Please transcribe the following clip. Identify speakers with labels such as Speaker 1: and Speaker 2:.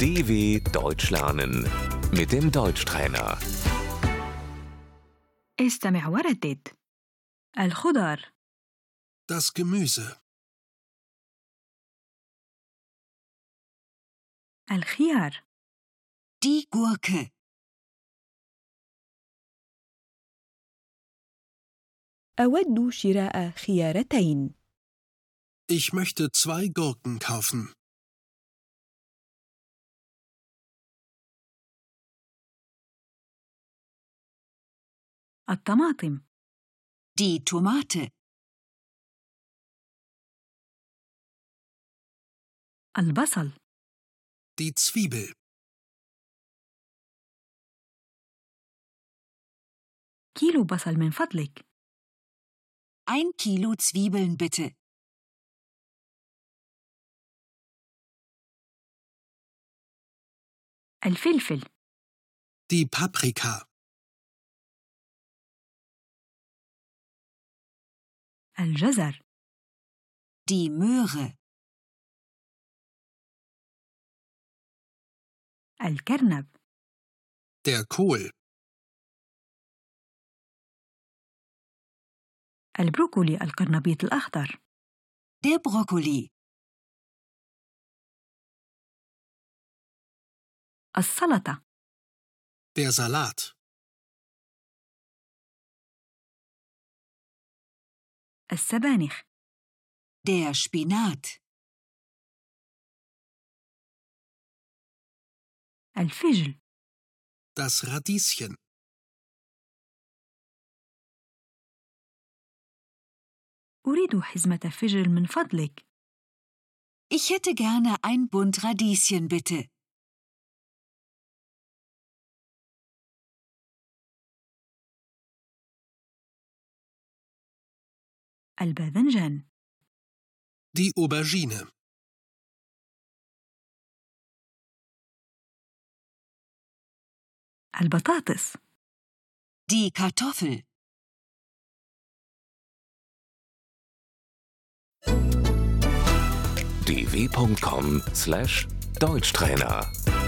Speaker 1: DW Deutsch lernen mit dem Deutschtrainer.
Speaker 2: استمع وردد الخضر
Speaker 3: Das Gemüse,
Speaker 2: الخيار
Speaker 4: Die Gurke.
Speaker 5: أود شراء خيارتين.
Speaker 3: ich möchte zwei Gurken kaufen.
Speaker 2: الطماطم
Speaker 4: Die Tomate.
Speaker 2: البصل
Speaker 3: Die Zwiebel,
Speaker 2: كيلو بصل من فضلك
Speaker 4: Ein Kilo Zwiebeln bitte.
Speaker 2: الفلفل
Speaker 3: die Paprika,
Speaker 2: الجزر
Speaker 4: Die Möhre.
Speaker 2: الكرنب
Speaker 3: der Kohl,
Speaker 2: البروكولي القرنبيط الأخضر
Speaker 4: Der Brokkoli.
Speaker 2: السلطة
Speaker 3: der Salat,
Speaker 2: السبانخ
Speaker 4: Der Spinat.
Speaker 2: الفجل
Speaker 3: das Radieschen,
Speaker 2: أريد حزمة فجل من فضلك
Speaker 4: Ich hätte gerne ein Bund Radieschen bitte.
Speaker 2: الباذنجان
Speaker 3: die Aubergine,
Speaker 2: البطاطس
Speaker 4: Die Kartoffel.
Speaker 1: dw.com/deutschtrainer